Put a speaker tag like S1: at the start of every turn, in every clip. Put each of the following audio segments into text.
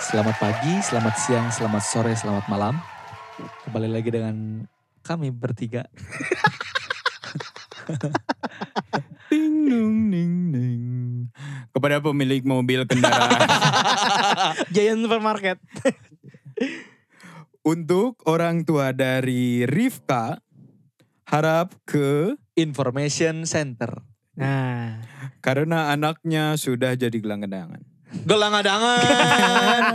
S1: Selamat pagi, selamat siang, selamat sore, selamat malam. Kembali lagi dengan kami bertiga.
S2: Ting dong ding ding. Kepada pemilik mobil kendaraan.
S3: Giant Supermarket.
S2: Untuk orang tua dari Rifka, harap ke
S1: Information Center.
S3: Nah,
S2: karena anaknya sudah jadi gelang-gelangan.
S1: Gelangadangan.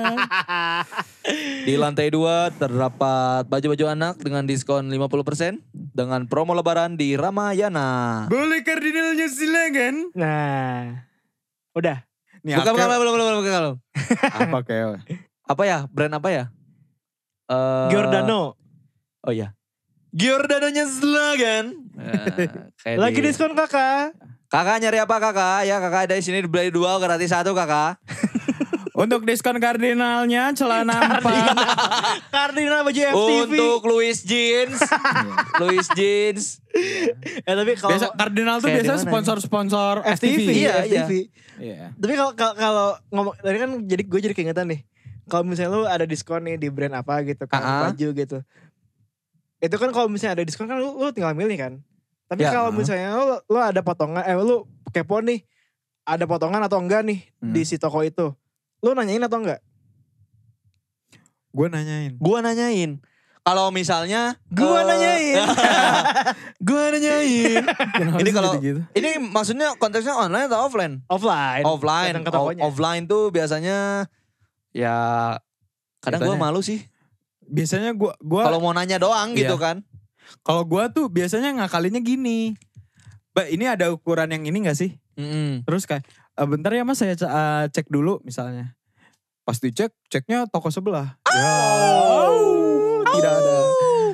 S1: Di lantai 2 terdapat baju-baju anak dengan diskon 50% dengan promo lebaran di Ramayana.
S2: Boleh kardinalnya silakan.
S3: nah. Udah.
S2: Nih,
S1: Bukan, bukan,
S2: Akel,
S1: belum, belum, belum, belum.
S2: apa Akel?
S1: Apa ya? Brand apa ya? Eh,
S3: Giordano.
S1: Oh iya. Giordanonya slogan. Eh, kayak
S3: Lagi
S1: di-
S3: diskon kakak.
S1: Kakak nyari apa kakak? Ya kakak ada di sini beli dua gratis satu kakak.
S2: Untuk diskon kardinalnya celana empat.
S3: Cardinal baju FTV.
S1: Untuk Louis Jeans.
S3: Iya.
S1: Louis Jeans.
S3: Eh tapi kalau
S2: Biasa kardinal tuh
S1: Kayak di
S2: biasa
S1: mana?
S2: sponsor-sponsor
S3: FTV,
S1: Iya,
S2: FTV.
S3: iya,
S1: iya.
S3: FTV.
S2: Iya.
S3: Tapi kalau kalau- kalau ngomong tadi kan jadi gue jadi keingetan nih. Kalau misalnya lu ada diskon nih di brand apa gitu kan
S1: Ah-ah.
S3: baju gitu. Itu kan kalau misalnya ada diskon kan lu, lu tinggal milih kan. Tapi
S1: Ya.
S3: kalau misalnya lu, lu ada potongan eh lu kepo nih ada potongan atau enggak nih
S2: Hmm.
S3: di si toko itu. Lu nanyain atau enggak?
S2: Gue nanyain.
S1: Gua nanyain. Kalau misalnya. eh,
S3: Gua nanyain.
S1: gua nanyain.
S2: Kenapa
S1: Ini
S2: sih
S1: kalau-
S2: jadi gitu?
S1: Ini maksudnya konteksnya online atau offline?
S3: Offline.
S1: Offline.
S3: Datang ke
S1: O-
S3: tokonya.
S1: offline tuh biasanya ya kadang gua
S2: Biasanya.
S1: malu sih.
S2: biasanya gua gua
S1: Kalau mau nanya doang
S2: Iya.
S1: gitu kan.
S2: Kalau gua tuh biasanya ngakalinnya gini. Mbak ini ada ukuran yang ini gak sih?
S1: Mm-mm.
S2: Terus kayak "Eh, bentar ya mas saya ce- eh, cek dulu misalnya. Pas dicek, ceknya toko sebelah. Ya. Tidak ada.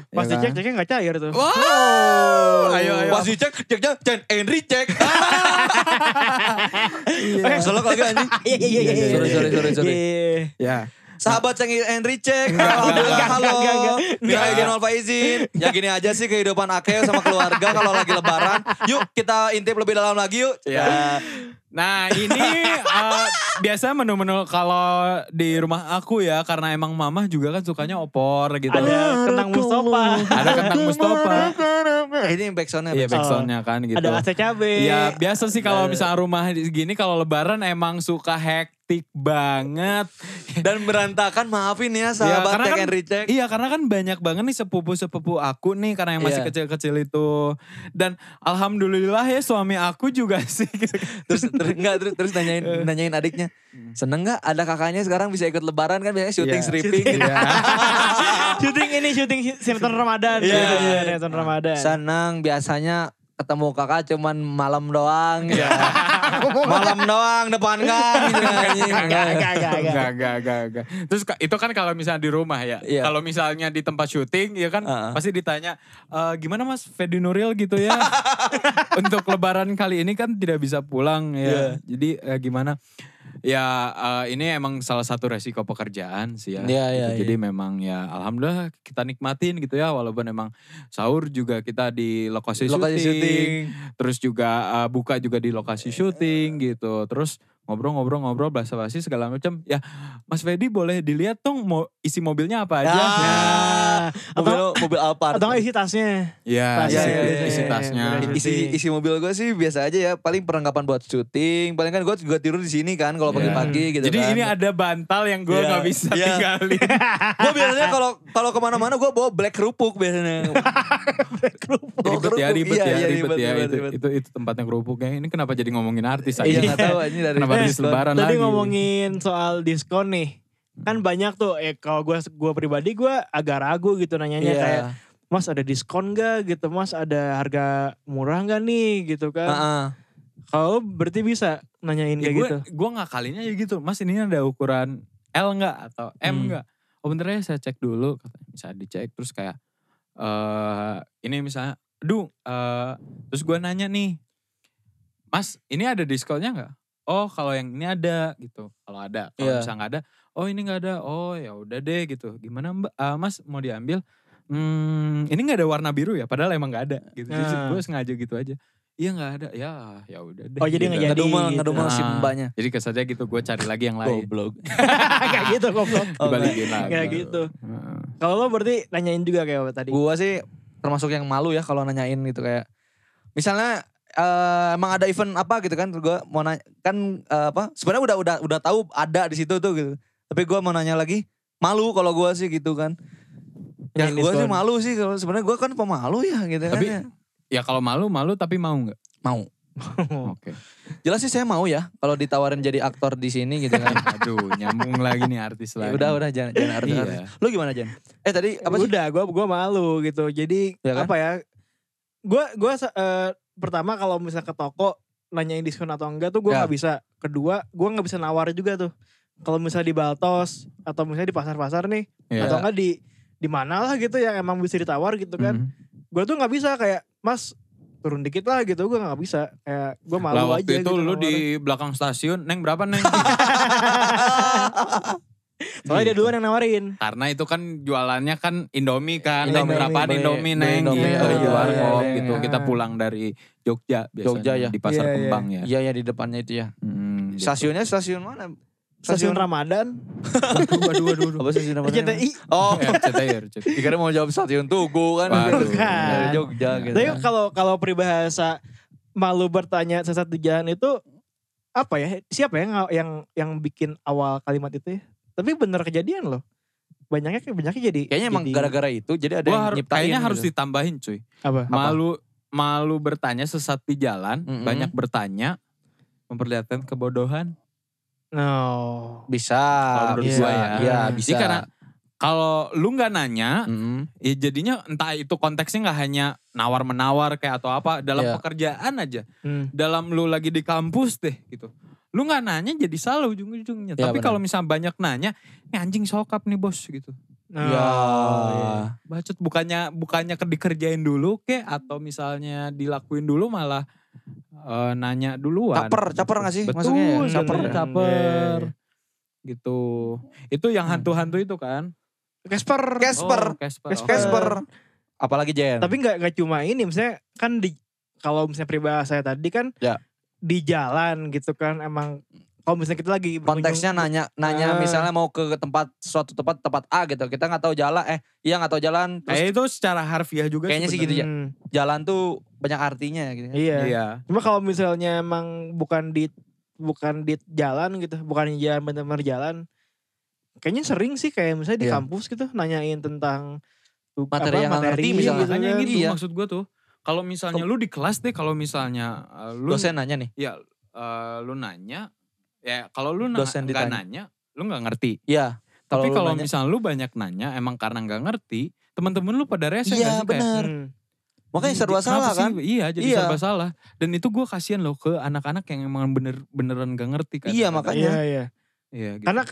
S2: Ya
S3: Pas
S2: kan?
S3: dicek ceknya enggak cair tuh.
S1: Wow.
S2: Ayo, ayo.
S1: Pas dicek, ceknya Chen Henry cek.
S2: Iya.
S1: Solo kagak anjing.
S3: Iya iya
S2: iya, iya.
S1: Sorry, sorry, sorry, sorry.
S3: Iya.
S2: Ya.
S1: Sahabat Ceng Henry cek.
S2: Enggak,
S1: Alhamdulillah
S2: enggak,
S1: halo.
S3: enggak, enggak,
S1: Mira
S2: enggak.
S1: Aidin Wal Faizin. Ya gini aja sih kehidupan Akeo sama keluarga kalau lagi lebaran. Yuk kita intip lebih dalam lagi yuk.
S2: Ya. Nah ini eh, biasa menu-menu kalau di rumah aku ya karena emang mamah juga kan sukanya opor gitu.
S3: Ada kentang Mustafa.
S2: Ada kentang Mustafa.
S1: Ini backsoundnya.
S2: Iya
S1: backsound.
S2: backsoundnya kan gitu.
S3: Ada AC cabe.
S2: Ya biasa sih kalau misalnya rumah gini kalau lebaran emang suka hektik banget.
S1: Dan berantakan maafin ya
S2: Ya,
S1: sahabat Ceng Henry cek.
S2: Iya karena kan banyak banget nih sepupu-sepupu aku nih karena yang masih
S1: Iya.
S2: kecil-kecil itu. Dan alhamdulillah ya suami aku juga sih.
S1: Terus ter, enggak terus terus nanyain nanyain adiknya. Seneng nggak ada kakaknya sekarang bisa ikut lebaran kan biasanya syuting
S2: Iya.
S1: stripping gitu.
S3: syuting ini syuting sinetron Ramadan.
S1: Iya.
S3: Iya, sinetron Ramadan.
S1: Senang biasanya ketemu kakak cuman malam doang. Ya. malam doang depan gang. gitu.
S3: Enggak, enggak, enggak, enggak.
S2: Enggak, enggak, enggak, enggak. Terus ka- itu kan kalau misalnya di rumah ya.
S1: Iya.
S2: Kalau misalnya di tempat syuting ya kan
S1: Heeh.
S2: pasti ditanya "Eh, gimana Mas Fedi Nuril gitu ya. Untuk lebaran kali ini kan tidak bisa pulang
S1: Iya.
S2: ya. Jadi eh, gimana? Ya eh, ini emang salah satu resiko pekerjaan sih ya.
S1: Iya, iya,
S2: Gitu. Jadi memang ya alhamdulillah kita nikmatin gitu ya walaupun emang sahur juga kita di lokasi,
S1: Lokasi syuting.
S2: terus juga uh, buka juga di
S1: Iya,
S2: lokasi syuting gitu terus ngobrol-ngobrol-ngobrol basa-basi segala macam ya Mas Fedi boleh dilihat dong mau isi mobilnya apa aja
S1: Ah, mobil
S3: Atau-
S1: lo- mobil Alphard.
S3: Atau nggak isi tasnya.
S2: ya,
S1: Tasnya,
S2: isi,
S1: iya, iya,
S2: isi
S1: iya.
S2: tasnya
S3: Bener.
S1: isi isi mobil gue sih biasa aja ya paling perlengkapan buat syuting paling kan gue juga tidur di sini kan kalau
S2: Iya.
S1: pagi-pagi gitu
S2: jadi
S1: kan.
S2: ini ada bantal yang gue
S1: Iya,
S2: nggak bisa
S1: iya.
S2: tinggalin
S1: gue biasanya kalau kalau kemana-mana gue bawa black kerupuk biasanya Bawa
S2: ribet ya
S1: kerupuk,
S2: ribet
S1: iya,
S2: ya
S1: iya,
S2: ribet ya
S1: ribet,
S2: itu
S1: ribet.
S2: itu itu tempatnya kerupuknya ini kenapa jadi ngomongin artis
S1: iya
S2: aja
S1: nggak tahu ini dari
S2: Kenapa harus
S1: diskon.
S2: lebaran
S3: Tadi
S2: lagi
S3: ngomongin soal diskon nih. Kan banyak tuh, eh kalau gue gua pribadi gue agak ragu gitu nanyanya
S1: Iya.
S3: kayak Mas ada diskon gak gitu, Mas ada harga murah gak nih
S2: Ah.
S3: gitu kan.
S1: Heeh.
S3: Kalau lu berarti bisa nanyain
S2: ya,
S3: kayak
S2: gue
S3: gitu.
S2: gue ngakalinnya ya gitu mas ini ada ukuran L nggak atau
S1: Hmm.
S2: M nggak oh bentar ya saya cek dulu katanya bisa dicek terus kayak eh ini misalnya aduh eh, terus gua nanya nih mas ini ada diskonnya nggak oh kalau yang ini ada gitu kalau ada kalau
S1: Iya.
S2: misalnya nggak ada oh ini nggak ada oh ya udah deh gitu gimana mbak Ah, mas mau diambil hmm ini nggak ada warna biru ya padahal emang nggak ada gitu Jadi
S3: Nah.
S2: gue sengaja gitu aja iya nggak ada ya ya udah deh
S3: Oh,
S2: gitu.
S3: jadi nggak jadi
S1: ngedumel,
S3: gitu.
S1: ngedumel si
S2: Ah.
S1: mbaknya.
S2: jadi kesannya gitu gue cari lagi yang lain
S1: Goblok.
S3: Kayak gitu goblok.
S1: Oh,
S2: dibalikin lagi
S3: Kayak gitu. Kalau lo berarti nanyain juga kayak tadi.
S1: Gua sih termasuk yang malu ya kalau nanyain gitu kayak misalnya eh, emang ada event apa gitu kan gua mau nanya kan eh, apa sebenarnya udah udah udah tahu ada di situ tuh gitu. Tapi gua mau nanya lagi malu kalau gua sih gitu kan. Ya
S3: Nanyain
S1: gua sih
S3: diskon.
S1: malu sih kalau sebenarnya gua kan pemalu ya gitu
S2: Tapi-
S1: kan. ya.
S2: ya kalau malu malu tapi mau nggak
S1: Mau. Oh.
S2: oke
S1: Jelas sih saya mau ya kalau ditawarin jadi aktor di sini gitu kan.
S2: aduh nyambung lagi nih artis
S1: Ya
S2: lagi
S1: udah udah jangan jangan harus
S2: Iya.
S1: harus. Lu gimana Jan? Eh tadi apa sih?
S3: udah gue gua malu gitu jadi
S1: Ya kan?
S3: apa ya gue gua eh, pertama kalau misalnya ke toko nanyain diskon atau enggak tuh gue
S1: Ya.
S3: nggak bisa kedua gue nggak bisa nawar juga tuh kalau misalnya di Baltos atau misalnya di pasar-pasar nih
S2: Iya.
S3: atau enggak di di mana lah gitu yang emang bisa ditawar gitu kan
S2: Mhm.
S3: gue tuh nggak bisa kayak mas turun dikit lah gitu gue nggak bisa kayak gue malu
S2: lah waktu
S3: aja
S2: itu
S3: gitu
S2: lu
S3: nawarin.
S2: di belakang stasiun neng berapa neng
S3: soalnya dia duluan yang nawarin
S2: karena itu kan jualannya kan Indomie kan neng
S1: Indomie.
S2: berapaan
S1: Beli-
S2: Indomie
S1: beli
S2: neng
S1: Indomie.
S2: gitu
S3: Iya,
S2: di warkop
S1: iya,
S2: gitu
S1: iya.
S2: kita pulang dari Jogja biasanya
S1: Jogja, ya.
S2: di pasar
S3: Iya, iya.
S2: Kembang ya
S1: Iya ya di depannya itu ya.
S2: Mhm, gitu.
S1: Stasiunnya stasiun mana?
S3: stasiun Ramadan
S2: Waduh,
S3: Eh,
S2: waduh, waduh, Iya, waduh.
S1: Apa stasiun apa?
S3: RCTI
S1: Oh,
S2: Ya, RCTI, RCTI.
S1: dikira mau jawab stasiun Tugu kan.
S2: Waduh.
S1: Dari Jogja
S2: Iya.
S1: gitu.
S3: Tapi
S1: kan.
S3: kalau kalau peribahasa malu bertanya sesat di jalan itu apa ya? Siapa yang yang yang bikin awal kalimat itu ya? Tapi bener kejadian loh. Banyaknya banyaknya jadi
S1: Kayaknya emang
S3: jadi-
S1: gara-gara itu jadi ada
S2: Gua
S1: yang
S2: harus-
S1: nyiptain.
S2: kayaknya
S1: gitu.
S2: harus ditambahin cuy
S3: apa?
S2: malu malu bertanya sesat di jalan
S1: Mm-mm.
S2: banyak bertanya memperlihatkan kebodohan
S3: No.
S1: bisa.
S2: Kalau menurut
S1: bisa.
S2: gua ya.
S1: Ah, Iya,
S3: Jadi
S1: bisa. Mm.
S2: jadi karena kalau lu nggak nanya
S1: Mm-mm.
S2: ya jadinya entah itu konteksnya nggak hanya nawar menawar kayak atau apa dalam
S1: Iya.
S2: pekerjaan aja
S3: Hmm.
S2: dalam lu lagi di kampus deh gitu lu nggak nanya jadi salah ujung-ujungnya
S1: Iya,
S2: tapi
S1: benar.
S2: kalau misalnya banyak nanya "Ini anjing sokap nih bos gitu
S3: No.
S1: Ya.
S2: iya. bacot bukannya bukannya ke- dikerjain dulu ke atau misalnya dilakuin dulu malah eh, nanya duluan
S1: Caper, caper gak sih
S2: Betul,
S1: maksudnya ya?
S2: caper
S1: Caper.
S3: bener.
S2: caper
S3: Iya,
S2: gitu itu yang
S1: Hmm.
S2: hantu-hantu itu kan
S3: Casper.
S1: Casper.
S2: oh, Casper,
S3: Casper.
S1: Casper. Apalagi Jen.
S3: Tapi nggak nggak cuma ini misalnya kan di kalau misalnya peribahasa tadi kan
S1: Ya.
S3: di jalan gitu kan emang kalau misalnya kita lagi berkunjung-
S1: konteksnya nanya nanya
S3: Ah.
S1: misalnya mau ke tempat suatu tempat tempat A gitu kita nggak tahu jalan eh iya nggak tahu jalan
S2: Oh.
S1: terus
S2: Eh itu secara harfiah juga
S1: Kayaknya sih gitu ya.
S3: Hmm,
S1: jalan tuh banyak artinya gitu kan.
S3: Iya.
S2: sebenarnya. Iya.
S3: Cuma kalau misalnya emang bukan di bukan di jalan gitu, bukan jalan benar-benar jalan. Kayaknya sering sih kayak misalnya di
S1: Iya.
S3: kampus gitu nanyain tentang tu-
S1: Materi yang nggak ngerti
S3: materi
S1: misalnya.
S3: gitu
S2: Makanya
S3: kan.
S2: gitu
S1: Iya.
S2: maksud gue tuh. Kalau misalnya lu di kelas deh kalau misalnya eh, lu
S1: dosen nanya nih
S2: ya eh, lu nanya ya kalau lu na-
S1: Dosen
S2: nggak
S1: ditanya.
S2: nanya lu nggak ngerti.
S1: iya
S2: Tapi
S1: lu
S2: kalau
S1: nanya,
S2: misalnya lu banyak nanya, emang karena nggak ngerti, teman-teman lu pada rese
S1: iya
S2: nggak sih? Kayak,
S1: benar
S3: Hmm.
S1: makanya
S2: "Ih,
S1: serba
S2: kenapa
S1: salah
S2: sih?"
S1: kan
S2: Iya, jadi
S1: Iya.
S2: serba salah. Dan itu gue kasihan loh ke anak-anak yang emang bener beneran gak ngerti kan.
S1: Iya, makanya.
S3: Iya, iya.
S2: Iya, gitu.
S3: Karena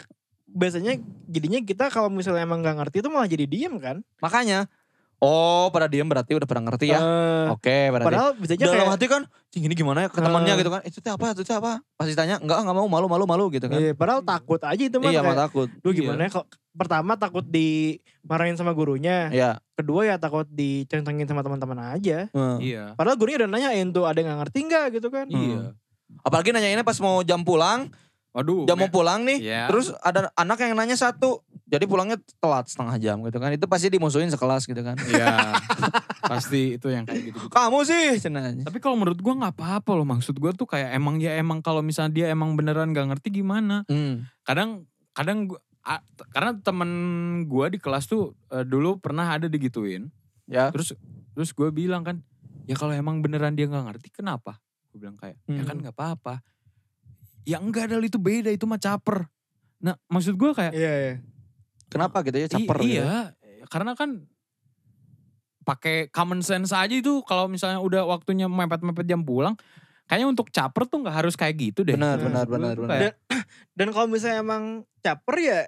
S3: biasanya jadinya kita kalau misalnya emang nggak ngerti itu malah jadi diem kan.
S1: makanya oh pada diem berarti udah pada ngerti ya
S3: Eh,
S1: oke berarti
S3: padahal bisa aja
S1: dalam
S3: kayak
S1: hati kan "Cing, ini gimana ya ke temannya
S3: Eh.
S1: gitu kan itu teh apa itu teh apa pasti tanya enggak enggak mau malu malu malu gitu kan
S3: Iya, padahal takut aja itu mah
S1: iya
S3: kayak,
S1: mah takut Iya.
S3: lu gimana kok pertama takut dimarahin sama gurunya,
S1: iya
S3: kedua ya takut diceng-cengin sama teman-teman aja.
S1: Heeh.
S2: Iya.
S3: Padahal gurunya udah nanyain tuh ada yang gak ngerti nggak gitu
S1: Hmm.
S3: kan.
S2: Iya.
S1: apalagi nanyainnya pas mau jam pulang
S2: Waduh.
S1: jam mau
S2: me-
S1: pulang nih
S2: Iya.
S1: Terus ada anak yang nanya satu, jadi pulangnya telat setengah jam gitu kan. Itu pasti dimusuhin sekelas gitu kan.
S2: Iya. Pasti itu yang kayak gitu.
S1: Kamu sih, cenanya.
S2: Tapi kalau menurut gua nggak apa-apa loh. Maksud gua tuh kayak emang ya emang kalau misalnya dia emang beneran gak ngerti gimana.
S1: Hmm.
S2: Kadang kadang gua, a- t- karena temen gua di kelas tuh eh, dulu pernah ada digituin.
S1: Ya.
S2: Terus terus gue bilang kan, ya kalau emang beneran dia nggak ngerti kenapa? Gue bilang kayak, ya kan
S1: Hmm.
S2: nggak apa-apa. Ya enggak ada itu beda itu mah caper. Nah maksud gua kayak
S3: Iya, iya.
S1: Kenapa gitu ya
S2: i-
S1: caper gitu.
S2: iya, karena kan pakai common sense aja itu kalau misalnya udah waktunya mepet-mepet jam pulang, kayaknya untuk caper tuh nggak harus kayak gitu deh.
S1: Benar,
S3: Nah, ya.
S2: Maksud
S1: benar,
S2: gua
S1: benar,
S2: tuh
S1: benar.
S2: kayak,
S3: Dan kalau misalnya emang caper ya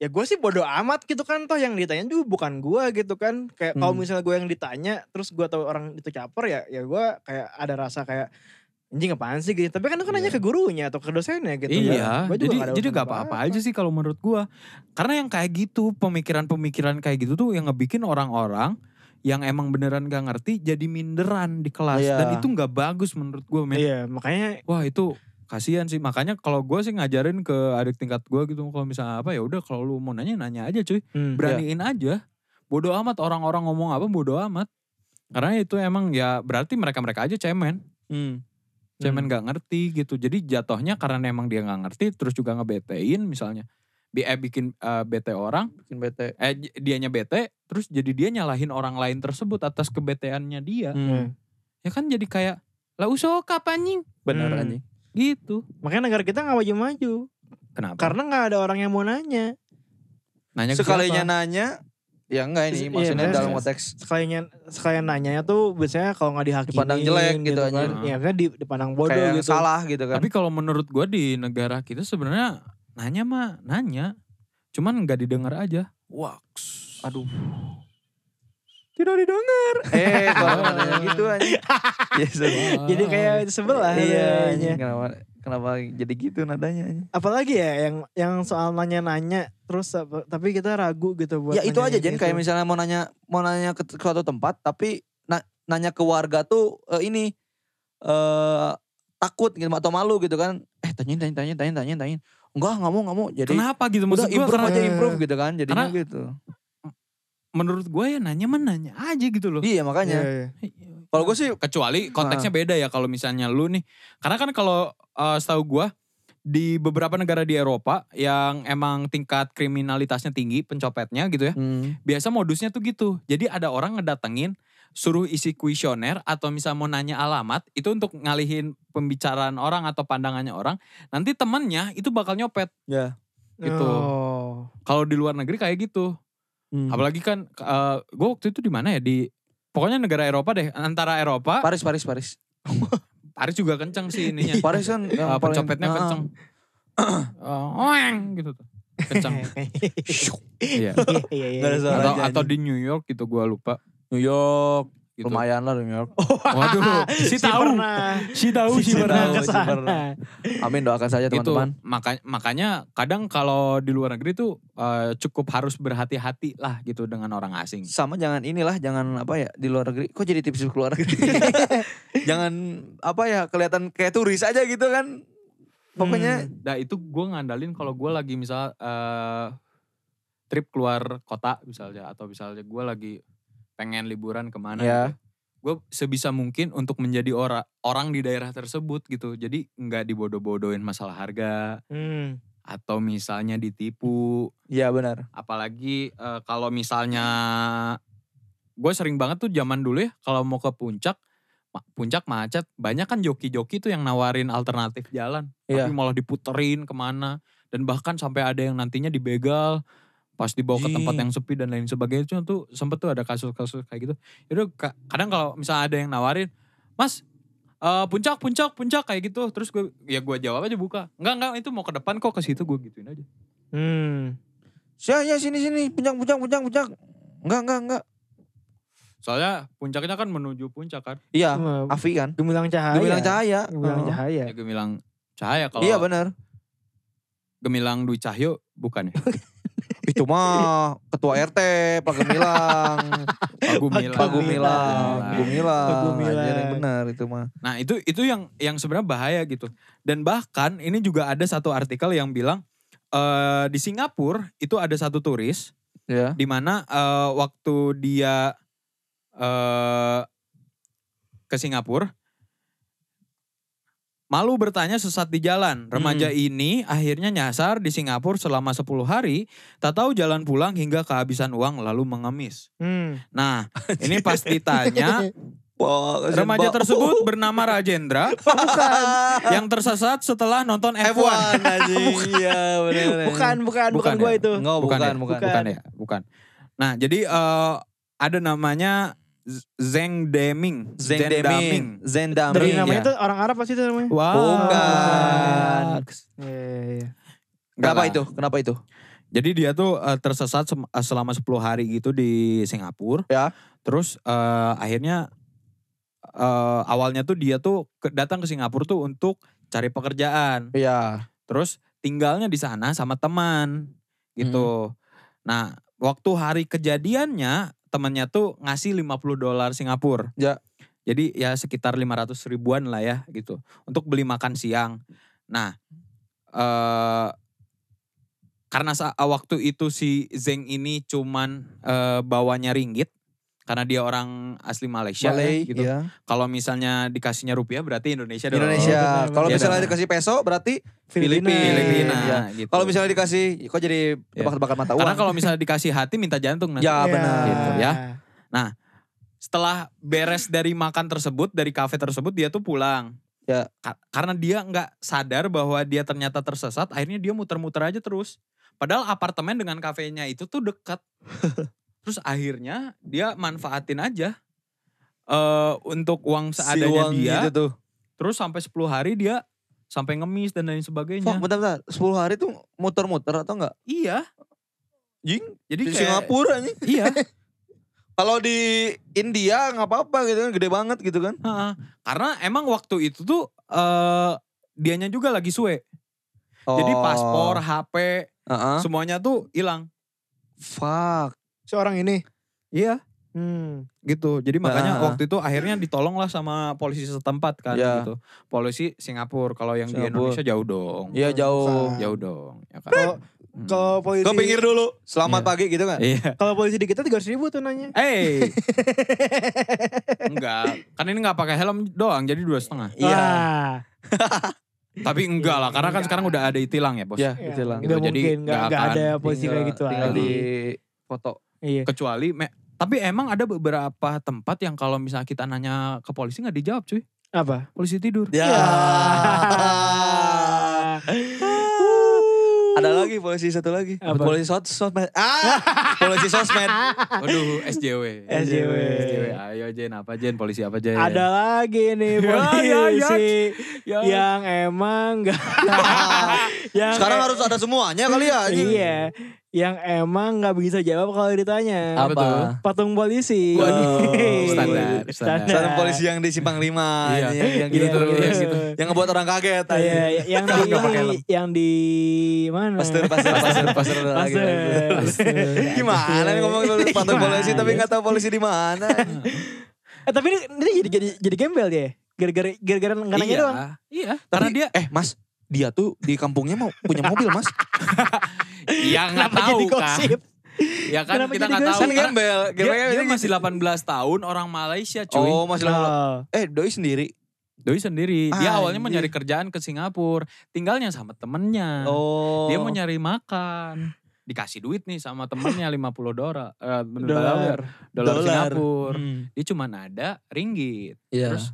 S3: ya gue sih bodoh amat gitu kan toh yang ditanya juga bukan gue gitu kan kayak kalau
S1: Hmm.
S3: misalnya gue yang ditanya terus gue tahu orang itu caper ya ya gue kayak ada rasa kayak anjing apaan sih gitu tapi kan lu kan nanya
S2: Iya.
S3: ke gurunya atau ke dosennya gitu
S2: iya,
S3: kan. Gua juga
S2: jadi
S3: nggak ada
S2: jadi
S3: urusan
S2: gak apa-apa aja sih kalau menurut gua. Karena yang kayak gitu, pemikiran-pemikiran kayak gitu tuh yang ngebikin orang-orang yang emang beneran gak ngerti jadi minderan di kelas
S1: Iya.
S2: dan itu nggak bagus menurut gua, men.
S3: iya makanya
S2: Wah, itu kasihan sih. Makanya kalau gua sih ngajarin ke adik tingkat gua gitu kalau misalnya apa ya udah kalau lu mau nanya nanya aja cuy.
S3: hmm,
S2: Beraniin aja. Bodoh amat orang-orang ngomong apa bodoh amat. Karena itu emang ya berarti mereka-mereka aja cemen
S1: Hmm.
S2: cuman nggak ngerti gitu jadi jatuhnya karena emang dia nggak ngerti terus juga ngebetein misalnya bi eh, bikin eh, bete orang
S1: Bikin bete.
S2: eh j- dianya bete terus jadi dia nyalahin orang lain tersebut atas kebeteannya dia
S3: Hmm.
S1: Hmm.
S2: ya kan jadi kayak lah usah kapan anjing
S1: Bener
S3: Hmm.
S1: anjing.
S2: gitu
S3: makanya negara kita nggak maju-maju
S2: kenapa
S3: karena nggak ada orang yang mau nanya
S2: nanya ke
S1: Sekalinya
S2: siapa?
S1: nanya ya enggak ini
S3: Iya,
S1: maksudnya
S3: bener.
S1: dalam konteks
S3: sekalinya sekalian nanya tuh biasanya kalau nggak dihakimi
S1: Dipandang jelek gitu
S3: kan
S1: aja.
S3: ya kan di- dipandang bodoh
S1: kayak
S3: gitu
S1: salah gitu kan.
S2: tapi kalau menurut gua di negara kita sebenarnya nanya mah nanya cuman nggak didengar aja waks
S1: Aduh.
S2: tidak didengar
S1: eh kalau nanya gitu anjing.
S2: Iya,
S1: Ya sudah.
S3: jadi
S2: Ah,
S3: kayak sebelah
S1: Iya,
S3: adanya.
S1: anjing. kenapa kenapa jadi gitu nadanya anjing.
S3: apalagi ya yang yang soal nanya-nanya terus apa- tapi kita ragu gitu buat
S1: ya itu aja
S3: nanyain
S1: Jen kayak misalnya mau nanya mau nanya ke suatu tempat tapi na- nanya ke warga tuh eh, ini eh takut gitu atau malu gitu kan eh tanyain tanyain tanyain tanyain tanyain tanyain enggak nggak mau nggak mau jadi
S2: kenapa gitu
S1: udah
S2: maksud gua
S1: improve
S2: karena- iya.
S1: aja improve gitu kan jadinya
S2: Karena-
S1: gitu
S2: menurut gue ya nanya mah nanya aja gitu loh.
S1: iya
S3: Iya,
S1: makanya
S3: iya.
S1: kalau gue sih
S2: Kecuali konteksnya beda ya kalau misalnya lu nih. Karena kan kalau eh, setahu gue di beberapa negara di Eropa yang emang tingkat kriminalitasnya tinggi, pencopetnya gitu ya.
S1: hmm,
S2: Biasa modusnya tuh gitu. Jadi ada orang ngedatengin suruh isi kuesioner atau misal mau nanya alamat itu untuk ngalihin pembicaraan orang atau pandangannya orang nanti temannya itu bakal nyopet
S1: ya
S2: Gitu.
S3: Oh.
S2: kalau di luar negeri kayak gitu
S1: Hmm.
S2: apalagi kan gue waktu itu di mana ya di pokoknya negara Eropa deh antara Eropa
S1: Paris Paris Paris
S2: Paris juga kenceng sih ininya.
S1: Paris kan yang
S2: Eh,
S1: paling-
S2: pencopetnya
S1: Ah,
S2: kenceng. Eh, oeng gitu tuh. Kenceng. Iya.
S3: Iya, iya,
S1: Nggak ada
S3: iya.
S1: suara.
S2: Atau
S1: aja
S2: atau di New York gitu gua lupa.
S1: New York
S2: Gitu.
S1: lumayan lah New York
S2: Waduh, si
S3: Si
S2: tahu.
S3: pernah.
S2: Si tahu si
S3: Si pernah
S1: tahu,
S2: tahu.
S3: ke
S1: si
S3: sana.
S1: pernah. amin doakan saja Eh,
S2: Gitu.
S1: teman-teman
S2: Maka, makanya kadang kalau di luar negeri tuh eh, cukup harus berhati-hati lah gitu dengan orang asing.
S1: sama jangan inilah jangan apa ya di luar negeri kok jadi tips di luar negeri jangan apa ya kelihatan kayak turis aja gitu kan pokoknya
S2: Nah itu gua ngandalin kalau gua lagi misal eh, trip keluar kota misalnya atau misalnya gua lagi pengen liburan kemana
S1: Iya.
S2: gitu. Gue sebisa mungkin untuk menjadi orang orang di daerah tersebut gitu. Jadi nggak dibodoh-bodohin masalah harga
S3: Hmm.
S2: atau misalnya ditipu.
S1: ya benar
S2: Apalagi eh, kalau misalnya gue sering banget tuh zaman dulu ya kalau mau ke puncak ma- puncak macet banyak kan joki-joki tuh yang nawarin alternatif jalan
S1: Iya.
S2: tapi malah diputerin kemana dan bahkan sampai ada yang nantinya dibegal pas dibawa ke tempat
S1: Jing.
S2: yang sepi dan lain sebagainya Cuma tuh sempet tuh ada kasus-kasus kayak gitu itu kadang kalau misalnya ada yang nawarin mas eh, puncak puncak puncak kayak gitu terus gue ya gue jawab aja buka enggak enggak itu mau ke depan kok ke situ gue gituin aja
S3: Hmm.
S1: ya ya sini sini puncak puncak puncak puncak enggak enggak enggak
S2: soalnya puncaknya kan menuju puncak kan
S1: iya
S3: Cuma
S1: Afi kan
S3: Gemilang cahaya.
S1: dibilang cahaya
S3: Gemilang
S1: Oh.
S3: cahaya.
S2: ya gemilang cahaya kalau
S1: iya benar
S2: gemilang Dwi Cahyo bukan ya
S1: itu mah ketua RT Pak Gemilang
S2: Pagumilang
S1: Pak Gumilang
S2: Pagumilang.
S1: Gumilang
S3: Pak Gumilang.
S1: Anjir, yang benar itu mah
S2: Nah itu itu yang yang sebenarnya bahaya gitu. Dan bahkan ini juga ada satu artikel yang bilang eh di Singapura itu ada satu turis
S1: ya
S2: di mana eh, waktu dia eh ke Singapura malu bertanya sesat di jalan. Remaja ini akhirnya nyasar di Singapura selama 10 hari, tak tahu jalan pulang hingga kehabisan uang lalu mengemis.
S3: Hmm.
S2: Nah, ini pas ditanya
S1: Wah, kasihan,
S2: Remaja
S1: Pak.
S2: tersebut bernama Rajendra yang tersesat setelah nonton F1.
S1: F1 anjing iya benar
S3: Bukan, bukan, bukan
S2: Bukan
S3: gue
S2: ya?
S3: itu.
S1: Enggak, bukan,
S2: ya?
S1: bukan,
S2: bukan ya, bukan. Nah, jadi eh, ada namanya Z- Zeng Deming.
S1: Zendaming. Zendaming.
S3: Dari
S2: Iya. Uh,
S3: namanya itu orang Arab pasti itu namanya.
S2: Wah.
S1: Bukan.
S3: Iya, iya, iya.
S1: Kenapa itu? Kenapa itu?
S2: Jadi dia tuh eh, tersesat sem- eh, selama 10 hari gitu di Singapura.
S1: Ya.
S2: Terus eh, akhirnya eh, awalnya tuh dia tuh ke- datang ke Singapura tuh untuk cari pekerjaan.
S1: Iya.
S2: Terus tinggalnya di sana sama teman
S1: Hmm.
S2: gitu. Nah, waktu hari kejadiannya temannya tuh ngasih 50 dolar Singapura.
S1: Ya.
S2: Jadi ya sekitar 500 ribuan lah ya gitu untuk beli makan siang. Nah, eh karena sa- eh, waktu itu si Zeng ini cuman eh, bawanya ringgit karena dia orang asli Malaysia ya,
S1: Malay,
S2: gitu.
S1: iya.
S2: Kalau misalnya dikasihnya rupiah berarti Indonesia dong.
S1: Indonesia.
S3: benar,
S1: Kalau
S2: benar.
S1: misalnya
S2: Iya,
S1: dikasih peso berarti
S3: Filipina.
S2: Filipina
S1: Iya.
S2: gitu.
S1: kalau misalnya dikasih kok jadi tebak-tebakan mata uang.
S2: Iya. Karena kalau misalnya dikasih hati minta jantung nanti.
S1: Ya,
S3: Iya.
S1: benar.
S2: Gitu, ya. Setelah beres dari makan tersebut, dari kafe tersebut dia tuh pulang.
S1: Ya.
S2: Ka- Karena dia nggak sadar bahwa dia ternyata tersesat, akhirnya dia muter-muter aja terus. Padahal apartemen dengan kafenya itu tuh dekat. terus akhirnya dia manfaatin aja eh untuk uang seadanya
S1: uang
S2: dia.
S1: gitu tuh.
S2: Terus sampai 10 hari dia sampai ngemis dan lain sebagainya.
S1: Fuck, bentar-bentar. 10 hari tuh muter-muter atau enggak?
S2: Iya.
S1: Jing,
S2: Jadi
S1: di
S2: kayak-
S1: Singapura anjing.
S2: Iya.
S1: Kalau di India nggak apa-apa gitu kan, gede banget gitu kan.
S2: Heeh. Karena emang waktu itu tuh eh dianya juga lagi suwe. Jadi
S1: Oh.
S2: paspor, HP,
S1: Heeh.
S2: semuanya tuh hilang.
S1: Fuck.
S3: Seorang ini.
S2: Iya.
S3: Hmm.
S2: Gitu. Jadi makanya
S1: Ah.
S2: waktu itu akhirnya ditolonglah sama polisi setempat kan
S1: Iya.
S2: gitu. Polisi Singapura kalau yang di
S1: Singapura.
S2: Indonesia jauh dong.
S1: Iya jauh.
S2: Jauh dong. Ya kan?
S3: Kalau
S2: Hmm.
S3: kalau polisi
S1: Ke pinggir dulu. Selamat
S2: Iya.
S1: pagi gitu kan.
S2: Iya.
S3: Kalau polisi di kita 300 ribu tuh nanya.
S2: Eh, enggak. Kan ini enggak pakai helm doang jadi dua setengah.
S1: Iya.
S3: Wah.
S2: Tapi enggak lah karena kan sekarang udah ada itilang ya, Bos.
S1: Iya,
S3: Ya,
S1: gitu lah.
S2: Gitu,
S3: nggak
S2: jadi
S3: mungkin, nggak
S2: nggak
S3: nggak
S2: akan Iya.
S3: ada posisi kayak gitu lah.
S1: Tinggal di foto.
S3: Iya.
S2: Kecuali me- tapi emang ada beberapa tempat yang kalau misalnya kita nanya ke polisi nggak dijawab cuy.
S3: Apa?
S2: Polisi tidur.
S1: Ya. Iya. Ada lagi polisi satu lagi.
S3: Apa?
S1: Polisi sos sosmed. Ah, polisi sosmed.
S2: Waduh, SJW.
S3: SJW.
S2: SJW. Ayo Jen, apa Jen? Polisi apa Jen?
S3: Ada Iya. lagi nih
S2: Ya, ya, ya.
S3: polisi
S2: Ya.
S3: yang emang nggak yang
S1: Sekarang
S3: e-
S1: harus ada semuanya kali ya. anjing.
S3: iya yang emang nggak bisa jawab kalau ditanya
S2: Apa tuh?
S3: patung polisi
S1: Waduh,
S2: standar, standar.
S1: Satu polisi yang di simpang lima. Yang, yang
S2: Iya. Iya,
S1: gitu.
S2: iya,
S1: Yang,
S2: gitu.
S1: yang ngebuat orang kaget.
S3: Ah,
S1: anjing.
S3: iya, yang di
S2: Nggak pakai helm.
S3: yang di mana
S1: Pasir, pasir, pasir, pasir. ada lagi.
S3: Pasir.
S1: Gimana nih ngomong patung
S3: Gimana?
S1: polisi tapi nggak tahu polisi di mana.
S3: eh, tapi ini, ini jadi jadi jadi gembel dia ya? gara-gara gara-gara nggak nanya
S2: Iya.
S3: doang
S2: Iya. Karena dia
S1: eh mas dia tuh di kampungnya mau punya mobil mas.
S2: ya nggak
S3: Kenapa
S2: tahu
S3: jadi
S2: kan.
S3: gosip
S2: Ya kan
S3: Kenapa
S2: kita
S3: jadi
S2: nggak tahu.
S3: gosip?
S1: Kan
S2: Karena
S1: gembel,
S2: dia,
S1: gembelnya
S2: dia
S1: gitu.
S2: masih 18 tahun orang Malaysia cuy.
S1: Oh masih lama.
S3: Oh.
S1: Eh doi sendiri.
S2: Doi sendiri. Dia awalnya
S1: Anjir.
S2: mau nyari kerjaan ke Singapura. Tinggalnya sama temennya.
S1: Oh.
S2: Nah. Dia mau nyari makan. Dikasih duit nih sama temennya 50 dolar. eh,
S3: Dolar.
S2: Dolar
S1: Dolar.
S2: Singapura.
S1: Hmm.
S2: Dia cuma ada ringgit.
S1: Iya.
S2: Terus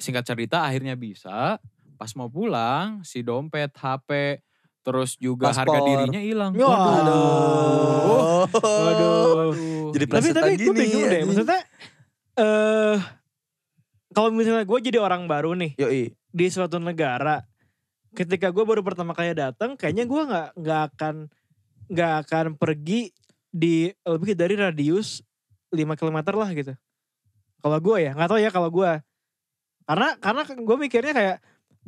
S2: singkat cerita akhirnya bisa. Pas mau pulang si dompet, HP, terus juga harga
S1: Paspor.
S2: dirinya hilang.
S3: Wah.
S2: Waduh.
S1: Aduh.
S3: Waduh.
S2: Waduh.
S1: Jadi
S3: tapi
S1: Plesetan
S3: tapi gue
S1: gini,
S3: bingung deh
S1: anjing.
S3: maksudnya eh kalau misalnya gue jadi orang baru nih
S1: Yoi.
S3: di suatu negara ketika gue baru pertama kali datang kayaknya gue nggak nggak akan nggak akan pergi di lebih dari radius 5 km lah gitu kalau gue ya nggak tahu ya kalau gue karena karena gue mikirnya kayak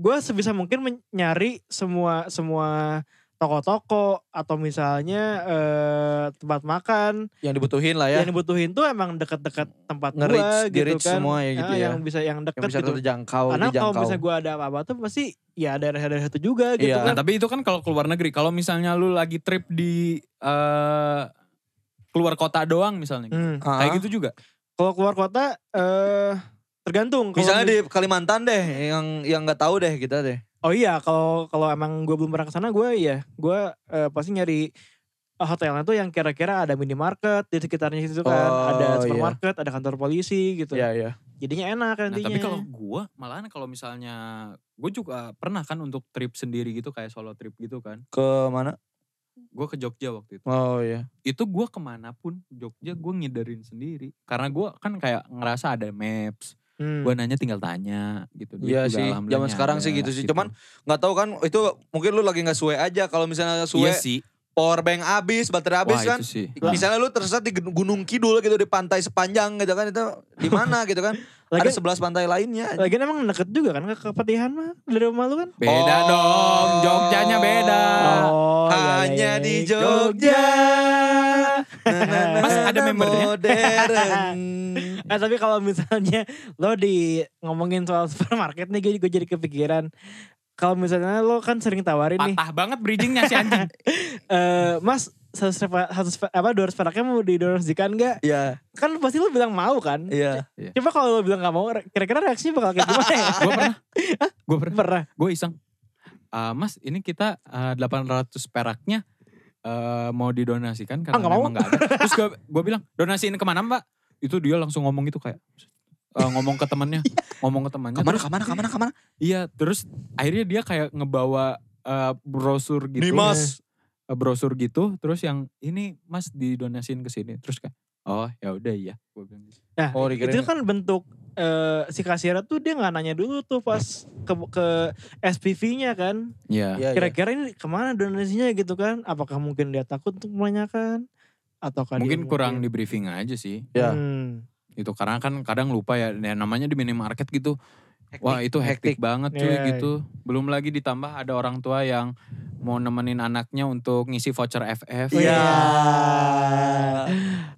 S3: gue sebisa mungkin men- nyari semua semua toko-toko atau misalnya eh, tempat makan
S1: Yang dibutuhin lah ya.
S2: Iya.
S3: yang dibutuhin tuh emang dekat-dekat tempat gua
S1: Nge-reach,
S3: gitu
S1: di-reach
S3: kan.
S1: semua ya gitu
S3: Ah,
S1: ya.
S3: Yang bisa yang
S1: Yang
S3: dekat
S1: bisa
S3: gitu.
S1: terjangkau,
S3: Karena kalau
S1: dijangkau.
S3: misalnya gua ada apa-apa tuh pasti ya daerah-daerah itu juga gitu
S1: Iya.
S2: Nah
S3: kan.
S2: tapi itu kan kalau keluar negeri. Kalau misalnya lu lagi trip di eh, keluar kota doang misalnya.
S3: Hmm.
S1: Ah.
S2: Kayak gitu juga.
S3: Kalau keluar kota eh tergantung. Kalau
S1: Misalnya
S3: mis-
S1: di Kalimantan deh, yang yang nggak tahu deh kita deh.
S3: Oh iya, kalau kalau emang gua belum pernah ke sana gua ya, gua eh, pasti nyari eh, hotelnya tuh yang kira-kira ada minimarket di sekitarnya situ kan,
S1: Oh, iya.
S3: ada supermarket, ada kantor polisi gitu.
S1: iya.
S3: Jadinya enak
S2: Nah
S3: nantinya.
S2: tapi
S1: ya.
S2: kalau gua malahan kalau misalnya. Gue juga pernah kan untuk trip sendiri gitu. Kayak solo trip gitu kan.
S1: Ke mana?
S2: Gue ke Jogja waktu itu.
S1: Oh iya.
S2: itu gue kemanapun Jogja gue ngiderin sendiri karena gue kan kayak ngerasa ada maps
S3: Hmm.
S2: gue nanya tinggal tanya gitu Duit
S1: Iya
S2: juga
S1: sih,
S2: alhamdulillah
S1: zaman sekarang sih
S2: ada, gitu. Iya
S1: gitu sih. Cuman- Nggak tahu kan itu mungkin lu lagi nggak suwe aja. Kalau misalnya
S2: iya
S1: suwe
S2: sih
S1: power bank habis, baterai habis
S2: Wah
S1: kan.
S2: itu sih.
S1: Misalnya lu tersesat di Gun- Gunung Kidul gitu di pantai sepanjang gitu kan itu di mana gitu kan. Ada
S3: Lagian-
S1: 11 pantai lainnya.
S3: Lagian emang deket juga kan ke Kepatihan mah dari rumah lu kan?
S2: Beda
S1: Oh.
S2: dong, Jogjanya beda.
S3: Oh,
S1: Hanya di
S3: iya.
S1: Jogja.
S2: Mas, ada membernya?
S1: Modern.
S3: Eh tapi kalau misalnya lo di ngomongin soal supermarket nih gue, gue jadi kepikiran. Kalau misalnya lo kan sering tawarin nih.
S2: Patah banget bridgingnya si anjing.
S3: eh mas, satu, satu, apa, 200 peraknya mau didonasikan gak?
S1: Iya,
S3: Kan pasti lo bilang mau kan?
S1: iya.
S3: Coba kalau lo bilang gak mau, re- kira-kira reaksinya bakal kayak gimana ya?
S2: gue pernah, gue pernah,
S3: Pernah.
S2: gue iseng. "Ah, mas, ini kita ah, 800 peraknya eh, mau didonasikan karena
S3: Ah, nggak mau.
S2: memang nggak ada. Terus gue gue bilang donasiin kemana mbak? Itu dia langsung ngomong gitu kayak eh, ngomong ke temannya, ngomong ke temannya.
S1: Kemana,
S2: terus-
S1: kemana, kemana, kemana?
S2: Iya, terus akhirnya dia kayak ngebawa eh, brosur gitu.
S1: Dimas.
S2: Eh, brosur gitu, terus yang ini mas didonasiin ke sini. Terus kayak oh ya udah iya. Gue bilang gitu.
S3: Nah,
S1: Oh, dikira-
S3: itu kan bentuk eh, si kasir tuh dia nggak nanya dulu tuh pas ke, ke SPV-nya kan.
S2: Iya.
S1: Iya, iya.
S3: Kira-kira ini kemana donasinya gitu kan? Apakah mungkin dia takut untuk menanyakan? Atau
S2: Mungkin kurang di briefing aja sih.
S1: Iya.
S3: Hmm.
S2: itu karena kan kadang lupa ya ya namanya di minimarket gitu
S1: Hektik.
S2: wah itu hektik, banget cuy
S3: Iya.
S2: gitu belum lagi ditambah ada orang tua yang mau nemenin anaknya untuk ngisi voucher Gitu. FF
S3: Iya.
S1: Bener,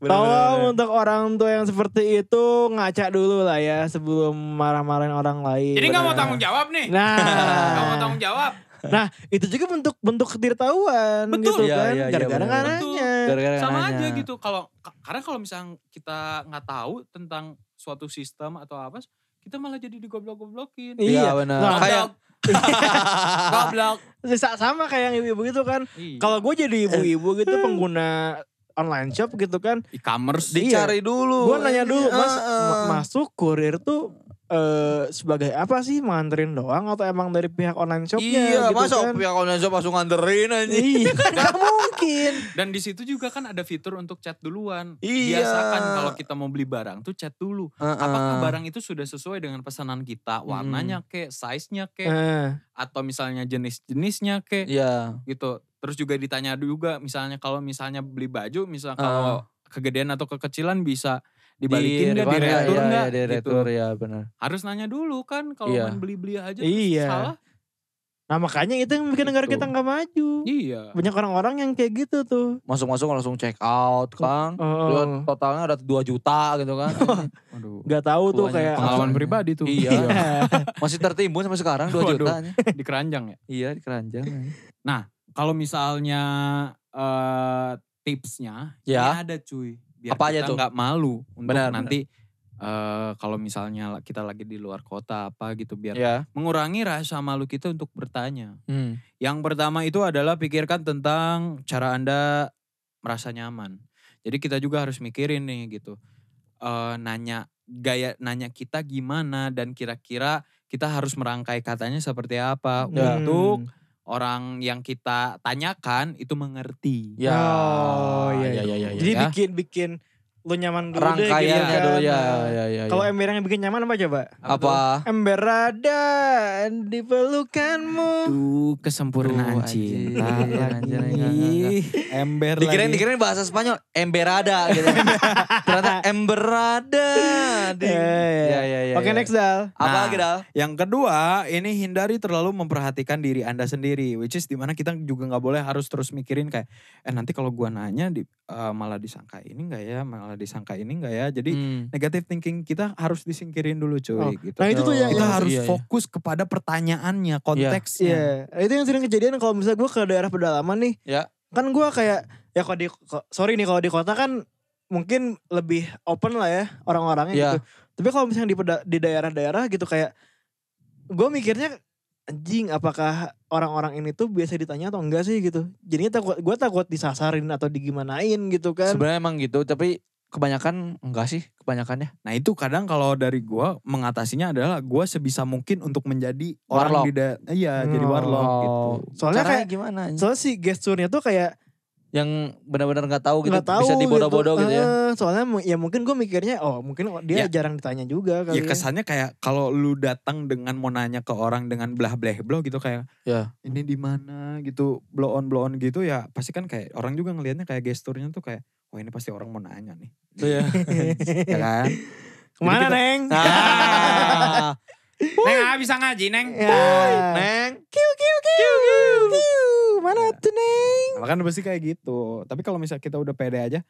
S1: bener,
S3: Tolong
S1: bener.
S3: untuk orang tua yang seperti itu ngaca dulu lah ya sebelum marah-marahin orang lain.
S2: jadi nggak mau
S3: Bener.
S2: tanggung jawab nih nggak mau
S3: Nah,
S2: tanggung jawab
S3: nah itu juga bentuk bentuk ketidaktahuan
S2: Betul.
S3: gitu
S1: Iya,
S3: kan,
S1: iya, iya,
S3: gara-gara
S1: bener,
S3: nggak
S2: bener.
S3: nanya.
S1: Gara-gara
S2: sama
S1: nanya.
S2: aja gitu kalau ka- karena kalau misalnya kita nggak tahu tentang suatu sistem atau apa kita malah jadi digoblok-goblokin
S1: Iya,
S3: Iya,
S1: benar.
S3: Nah,
S1: Kayak
S2: goblok
S3: Sa- sama kayak yang ibu-ibu gitu kan.
S2: Iya.
S3: Kalau gue jadi ibu-ibu gitu
S2: Eh.
S3: pengguna online shop gitu kan,
S2: e-commerce
S1: dicari dulu.
S3: gue iya. nanya dulu,
S1: Ini,
S3: mas,
S1: eh,
S3: ma-
S1: eh.
S3: masuk kurir tuh eh, sebagai apa sih? Menganterin doang atau emang dari pihak online shopnya?
S1: Iya,
S3: gitu
S1: masa
S3: kan?
S1: pihak online shop langsung nganterin anjing.
S3: Iya, kan nggak mungkin.
S2: Dan di situ juga kan ada fitur untuk chat duluan.
S1: Iya.
S2: Biasakan kalau kita mau beli barang tuh chat dulu.
S1: Heeh. Hmm.
S2: Apakah barang itu sudah sesuai dengan pesanan kita, warnanya kek, size-nya kek,
S3: Nah,
S2: atau misalnya jenis-jenisnya kek
S1: Eh. Iya.
S2: gitu. Terus juga ditanya juga misalnya kalau misalnya beli baju, misal kalau kegedean atau kekecilan bisa dibalikin nggak,
S1: Di-
S2: diretur
S1: iya,
S2: nggak
S1: iya, di
S2: gitu.
S1: retur ya benar.
S2: Harus nanya dulu kan kalau
S1: Iya.
S2: main beli-beli aja terus
S3: Iya.
S2: salah.
S3: nah makanya itu yang bikin negara kita nggak maju.
S2: Iya.
S3: Banyak orang-orang yang kayak gitu tuh.
S1: Masuk-masuk langsung check out kan.
S3: Oh,
S1: Totalnya ada 2 juta gitu kan.
S2: Aduh.
S3: nggak tahu tuh
S1: Banyak
S3: kayak.
S1: pengalaman.
S2: Pengalaman pribadi tuh.
S1: iya. Masih tertimbun sampai sekarang 2
S2: Waduh.
S1: juta. nih.
S2: di keranjang ya.
S1: Iya, di keranjang.
S2: kalau misalnya eh tipsnya
S1: Ya.
S3: Iya.
S2: ini ada cuy biar
S1: Apa aja
S2: kita
S1: tuh?
S2: nggak malu untuk
S1: Benar,
S2: nanti eh kalau misalnya la- kita lagi di luar kota apa gitu biar
S1: Iya.
S2: mengurangi rasa malu kita untuk bertanya.
S1: Hmm.
S2: Yang pertama itu adalah pikirkan tentang cara Anda merasa nyaman. Jadi kita juga harus mikirin nih gitu. Eh nanya gaya nanya kita gimana dan kira-kira kita harus merangkai katanya seperti apa
S1: Ya.
S2: untuk orang yang kita tanyakan itu mengerti.
S1: Ya.
S3: Oh, iya,
S1: ya, ya, ya, ya.
S3: Jadi
S2: Ya.
S3: bikin bikin lo nyaman dulu deh gitu
S1: rangkaiannya
S3: kan.
S1: dulu ya, ya, ya, ya.
S3: Kalau ember yang bikin nyaman apa coba?
S1: apa?
S3: Ember ada di pelukanmu.
S2: Tuh kesempurnaan
S1: Tuh,
S2: cinta
S1: anjing,
S2: lagi.
S1: anjing, enggak, enggak,
S2: Ember
S1: Dikirain
S2: lagi.
S1: dikirain bahasa Spanyol emberada gitu. Ternyata emberada. Di...
S3: Ya, ya.
S1: Ya, ya, ya,
S3: Oke
S1: ya.
S3: next Dal.
S1: Apa
S2: Nah.
S1: lagi Dal?
S2: Yang kedua, ini hindari terlalu memperhatikan diri Anda sendiri, which is dimana kita juga nggak boleh harus terus mikirin kayak, eh nanti kalau gua nanya di, eh, malah disangka ini nggak ya, malah disangka ini nggak ya. Jadi
S1: Hmm.
S2: negative thinking kita harus disingkirin dulu cuy.
S3: Oh,
S2: gitu.
S3: Nah itu tuh yang,
S2: kita
S3: yang-
S2: harus
S1: iya, iya.
S2: fokus kepada pertanyaannya, konteksnya.
S3: Iya, itu yang sering kejadian kalau misalnya gue ke daerah pedalaman nih.
S1: Ya.
S3: Kan gue kayak ya kalau di ko- sorry nih kalau di kota kan mungkin lebih open lah ya orang-orangnya
S1: Ya.
S3: gitu. Tapi kalau misalnya di peda- di daerah-daerah gitu kayak gue mikirnya anjing apakah orang-orang ini tuh biasa ditanya atau enggak sih gitu. Jadinya takut gue takut disasarin atau digimanain gitu kan.
S1: Sebenarnya emang gitu, tapi kebanyakan enggak sih kebanyakannya.
S2: Nah itu kadang kalau dari gua mengatasinya adalah gua sebisa mungkin untuk menjadi
S1: Warlock.
S2: orang di da- iya jadi warlock gitu.
S1: Oh. Soalnya
S3: Soalnya
S1: Caranya
S3: kayak
S1: gimana? anjing?
S3: soalnya si gesturnya tuh kayak
S1: yang benar-benar nggak tahu gitu
S3: nggak tahu
S1: bisa dibodoh-bodoh gitu, ya.
S3: Eh, soalnya mu- ya mungkin gue mikirnya oh mungkin
S2: Ya.
S3: dia jarang ditanya juga kali
S2: Ya kesannya kayak kalau lu datang dengan mau nanya ke orang dengan belah belah blow gitu kayak
S1: Ya.
S2: ini di mana gitu blow on blow on gitu ya pasti kan kayak orang juga ngelihatnya kayak gesturnya tuh kayak wah ini pasti orang mau nanya nih
S1: Iya.
S2: ya kan Jadi kita-
S3: kemana
S2: Ah,
S3: neng
S1: Nah,
S2: neng ah, bisa ngaji neng
S1: Iya.
S3: Ya.
S1: neng.
S3: kiu kiu kiu kiu mana tuh neng
S2: Nah, kan pasti kayak gitu tapi kalau misalnya kita udah pede aja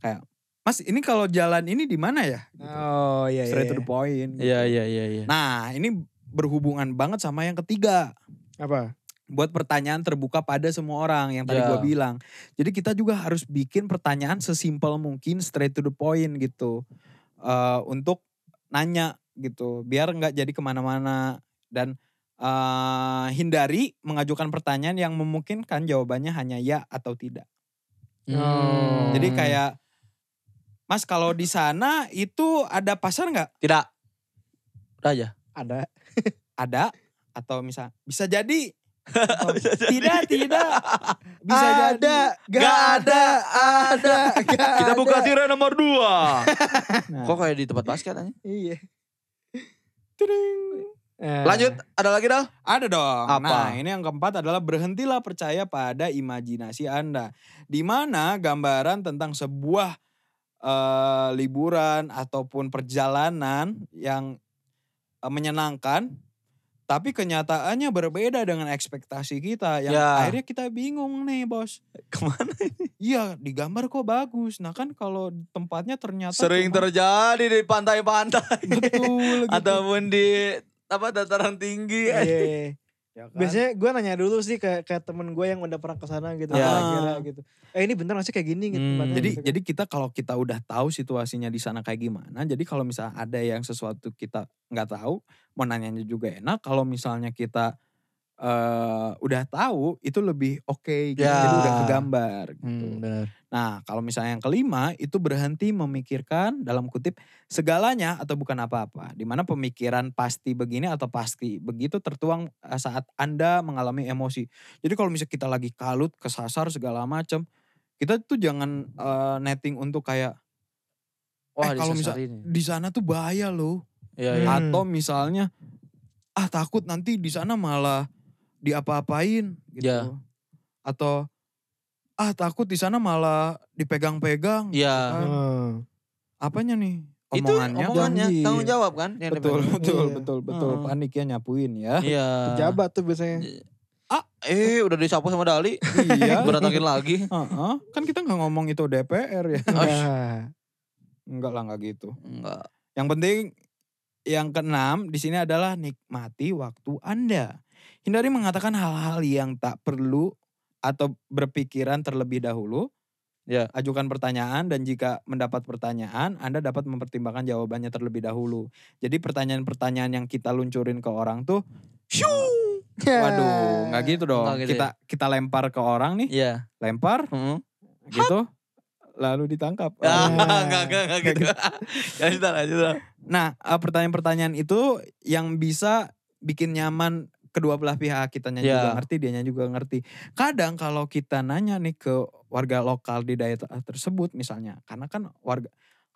S2: kayak mas ini kalau jalan ini di mana ya Gitu.
S3: oh iya iya
S2: straight to the point gitu.
S1: Iya iya iya iya.
S2: nah ini berhubungan banget sama yang ketiga
S3: apa
S2: buat pertanyaan terbuka pada semua orang yang tadi
S1: Ya.
S2: gua bilang. Jadi kita juga harus bikin pertanyaan sesimpel mungkin straight to the point gitu Eh, untuk nanya gitu biar nggak jadi kemana-mana dan eh, hindari mengajukan pertanyaan yang memungkinkan jawabannya hanya ya atau tidak.
S1: Hmm.
S2: Jadi kayak Mas kalau di sana itu ada pasar nggak?
S1: tidak. Udah aja.
S3: ada
S2: Ada atau misal bisa jadi Oh,
S1: Bisa jadi.
S2: tidak tidak bisa jadi
S1: Gak ada, ada. Kita buka tirai
S3: tiru
S1: nomor dua.
S2: Nah.
S1: Kok kayak di tempat basket aja?
S3: iya
S2: Eh.
S1: Lanjut, ada lagi dah.
S2: Ada dong.
S1: Apa?
S2: Nah, ini yang keempat adalah berhentilah percaya pada imajinasi Anda. Di mana gambaran tentang sebuah eh, liburan ataupun perjalanan yang eh, menyenangkan tapi kenyataannya berbeda dengan ekspektasi kita yang
S1: Ya.
S2: akhirnya kita bingung nih, Bos.
S1: Kemana?
S2: Iya, di gambar kok bagus. Nah, kan kalau tempatnya ternyata
S1: Sering
S2: cuma-
S1: terjadi di pantai-pantai
S2: betul gitu.
S1: ataupun di apa dataran tinggi.
S3: Iya.
S2: Ya kan?
S3: Biasanya gue nanya dulu sih ke, ke temen gue yang udah pernah kesana gitu.
S1: Ya.
S3: Kira-kira gitu. Eh ini bener gak sih kayak gini gitu.
S1: Hmm,
S3: tempatnya
S2: Jadi
S3: gitu.
S2: jadi kita kalau kita udah tahu situasinya di sana kayak gimana, jadi kalau misalnya ada yang sesuatu kita nggak tahu, mau nanyanya juga enak. Kalau misalnya kita eh udah tahu, itu lebih oke, gitu.
S1: Ya.
S2: jadi udah kegambar. gitu.
S1: Hmm, benar.
S2: Nah kalau misalnya yang kelima itu berhenti memikirkan dalam kutip segalanya atau bukan apa-apa, dimana pemikiran pasti begini atau pasti begitu tertuang eh, saat anda mengalami emosi. Jadi kalau misalnya kita lagi kalut, kesasar segala macem, kita tuh jangan eh, netting untuk kayak
S1: Wah,
S2: Eh, kalau misal-
S1: disesarin ya.
S2: di sana tuh bahaya loh.
S1: Iya,
S3: Hmm.
S1: iya.
S2: Atau misalnya ah takut nanti di sana malah diapa-apain gitu.
S1: Ya.
S2: Atau ah takut di sana malah dipegang-pegang.
S1: Iya.
S2: Kan,
S3: Hmm.
S2: Apanya nih?
S1: Itu
S2: Omongannya.
S1: omongannya
S3: Janji.
S1: tanggung jawab kan? Yang
S2: Betul,
S1: dipegang.
S2: betul,
S3: Iya.
S2: betul, betul.
S1: Heeh.
S2: Panik ya nyapuin ya.
S1: Iya.
S3: Pejabat tuh biasanya.
S1: Ah, eh udah disapu sama Dali.
S2: iya.
S1: Berantakin lagi.
S2: Heeh. Kan kita nggak ngomong itu DPR ya.
S3: Nah,
S2: Enggak lah, enggak gitu.
S1: Enggak.
S2: Yang penting yang keenam di sini adalah nikmati waktu Anda. Hindari mengatakan hal-hal yang tak perlu atau berpikiran terlebih dahulu.
S1: Ya.
S2: Ajukan pertanyaan dan jika mendapat pertanyaan, Anda dapat mempertimbangkan jawabannya terlebih dahulu. Jadi pertanyaan-pertanyaan yang kita luncurin ke orang tuh, waduh,
S3: Ya.
S2: nggak gitu dong.
S1: Nggak gitu
S2: kita kita lempar ke orang nih,
S1: Iya.
S2: lempar
S1: Heeh.
S2: gitu, lalu ditangkap.
S1: Ah,
S3: Iya.
S1: enggak, enggak, enggak gitu. ya, Lanjut, lanjut.
S2: Nah, eh, pertanyaan-pertanyaan itu yang bisa bikin nyaman kedua belah pihak kitanya
S1: Ya.
S2: juga ngerti, dianya juga ngerti. Kadang kalau kita nanya nih ke warga lokal di daerah tersebut misalnya, karena kan warga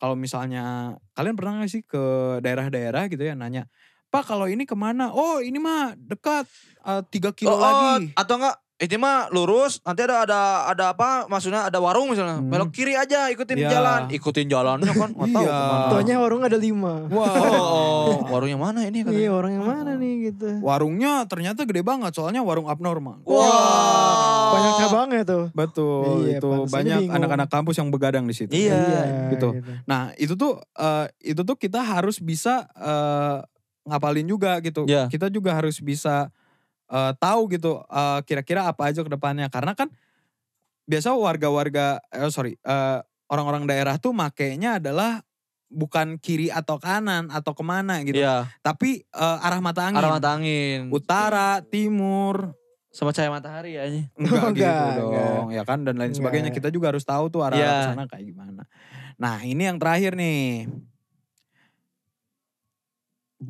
S2: kalau misalnya kalian pernah nggak sih ke daerah-daerah gitu ya nanya, Pak kalau ini kemana? Oh ini mah dekat eh, tiga kilo
S1: Oh, oh,
S2: lagi.
S1: atau enggak ini mah lurus nanti ada ada ada apa maksudnya ada warung misalnya
S2: Hmm.
S1: belok kiri aja ikutin
S2: Iya.
S1: jalan ikutin jalannya kan nggak tahu
S2: Iya.
S1: kemana
S3: Tuanya warung ada lima.
S2: Wah,
S1: oh, oh, warungnya mana ini
S3: Iya
S1: katanya
S3: orang yang mana nih gitu.
S2: warungnya ternyata gede banget, soalnya warung abnormal.
S1: Wah.
S3: Banyak cabangnya tuh.
S2: Betul,
S3: Iya,
S2: itu
S3: pantesan
S2: banyak
S3: bingung.
S2: anak-anak kampus yang begadang di situ.
S1: Iya,
S2: gitu. Nah itu tuh eh, itu tuh kita harus bisa eh, ngapalin juga gitu.
S1: Iya.
S2: Kita juga harus bisa eh, tahu gitu eh, kira-kira apa aja kedepannya. Karena kan biasa warga-warga eh, sorry eh, orang-orang daerah tuh makainya adalah bukan kiri atau kanan atau kemana gitu.
S1: Iya,
S2: Tapi eh, arah mata angin.
S1: arah mata angin
S2: Utara, timur,
S1: sama cahaya matahari ya, aja
S2: enggak,
S3: Oh, enggak,
S2: gitu
S3: enggak. Iya.
S2: dong, ya kan dan lain
S3: Enggak.
S2: sebagainya. Kita juga harus tahu tuh arah
S1: Iya.
S2: sana kayak gimana. Nah ini yang terakhir nih.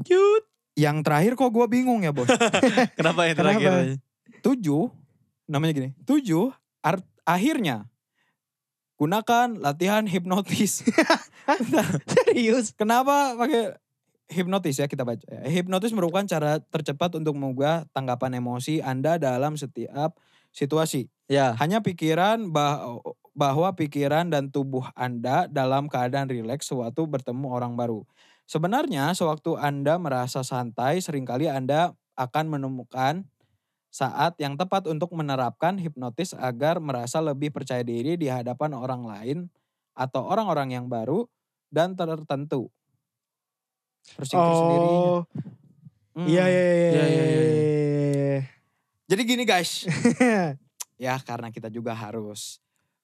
S1: cute
S2: Yang terakhir kok gue bingung ya bos.
S1: kenapa yang
S3: Kenapa?
S1: terakhir
S2: tujuh, namanya gini. Tujuh, art, akhirnya gunakan latihan hipnotis.
S3: Serius?
S2: Kenapa pakai hipnotis ya kita baca. ya. Hipnotis merupakan cara tercepat untuk mengubah tanggapan emosi Anda dalam setiap situasi.
S1: Ya.
S2: Hanya pikiran bah- bahwa pikiran dan tubuh Anda dalam keadaan rileks sewaktu bertemu orang baru. Sebenarnya sewaktu Anda merasa santai seringkali Anda akan menemukan saat yang tepat untuk menerapkan hipnotis agar merasa lebih percaya diri di hadapan orang lain atau orang-orang yang baru dan tertentu. Tersingkir sendirinya.
S3: Oh,
S2: Hmm.
S3: iya iya iya
S1: Iya,
S3: iya
S1: iya, iya,
S3: iya.
S2: Jadi gini guys. ya karena kita juga harus